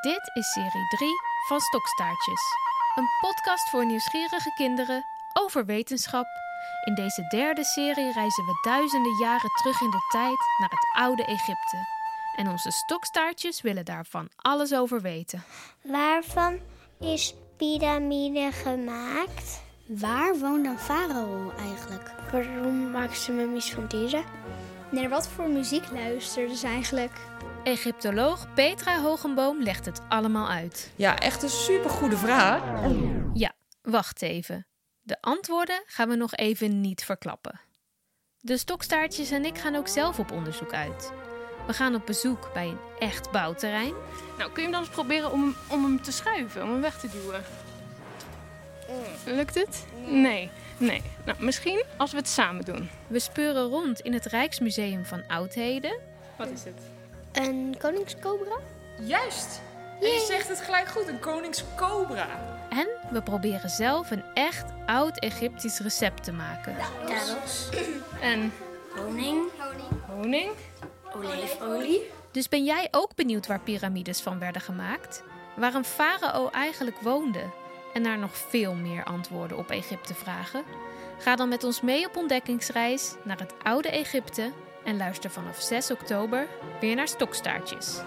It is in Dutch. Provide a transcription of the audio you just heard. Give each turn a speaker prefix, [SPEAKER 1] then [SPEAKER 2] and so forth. [SPEAKER 1] Dit is serie 3 van Stokstaartjes. Een podcast voor nieuwsgierige kinderen over wetenschap. In deze derde serie reizen we duizenden jaren terug in de tijd naar het oude Egypte. En onze stokstaartjes willen daarvan alles over weten.
[SPEAKER 2] Waarvan is piramide gemaakt?
[SPEAKER 3] Waar woonde een farao eigenlijk?
[SPEAKER 2] Waarom maken ze mummies van dieren?
[SPEAKER 3] Naar wat voor muziek luisterden ze eigenlijk?
[SPEAKER 1] Egyptoloog Petra Hogenboom legt het allemaal uit.
[SPEAKER 4] Ja, echt een supergoede vraag.
[SPEAKER 1] Ja, wacht even. De antwoorden gaan we nog even niet verklappen. De stokstaartjes en ik gaan ook zelf op onderzoek uit. We gaan op bezoek bij een echt bouwterrein.
[SPEAKER 5] Nou, kun je hem dan eens proberen om, om hem te schuiven, om hem weg te duwen? Lukt het? Nee. Nee. Nou, misschien als we het samen doen.
[SPEAKER 1] We speuren rond in het Rijksmuseum van Oudheden.
[SPEAKER 5] Wat is het?
[SPEAKER 2] Een koningscobra?
[SPEAKER 4] Juist. En je zegt het gelijk goed, een koningscobra.
[SPEAKER 1] En we proberen zelf een echt oud-Egyptisch recept te maken.
[SPEAKER 5] En? Honing. Honing?
[SPEAKER 1] Dus ben jij ook benieuwd waar piramides van werden gemaakt? Waar een farao eigenlijk woonde? En naar nog veel meer antwoorden op Egypte vragen? Ga dan met ons mee op ontdekkingsreis naar het oude Egypte en luister vanaf 6 oktober weer naar Stokstaartjes.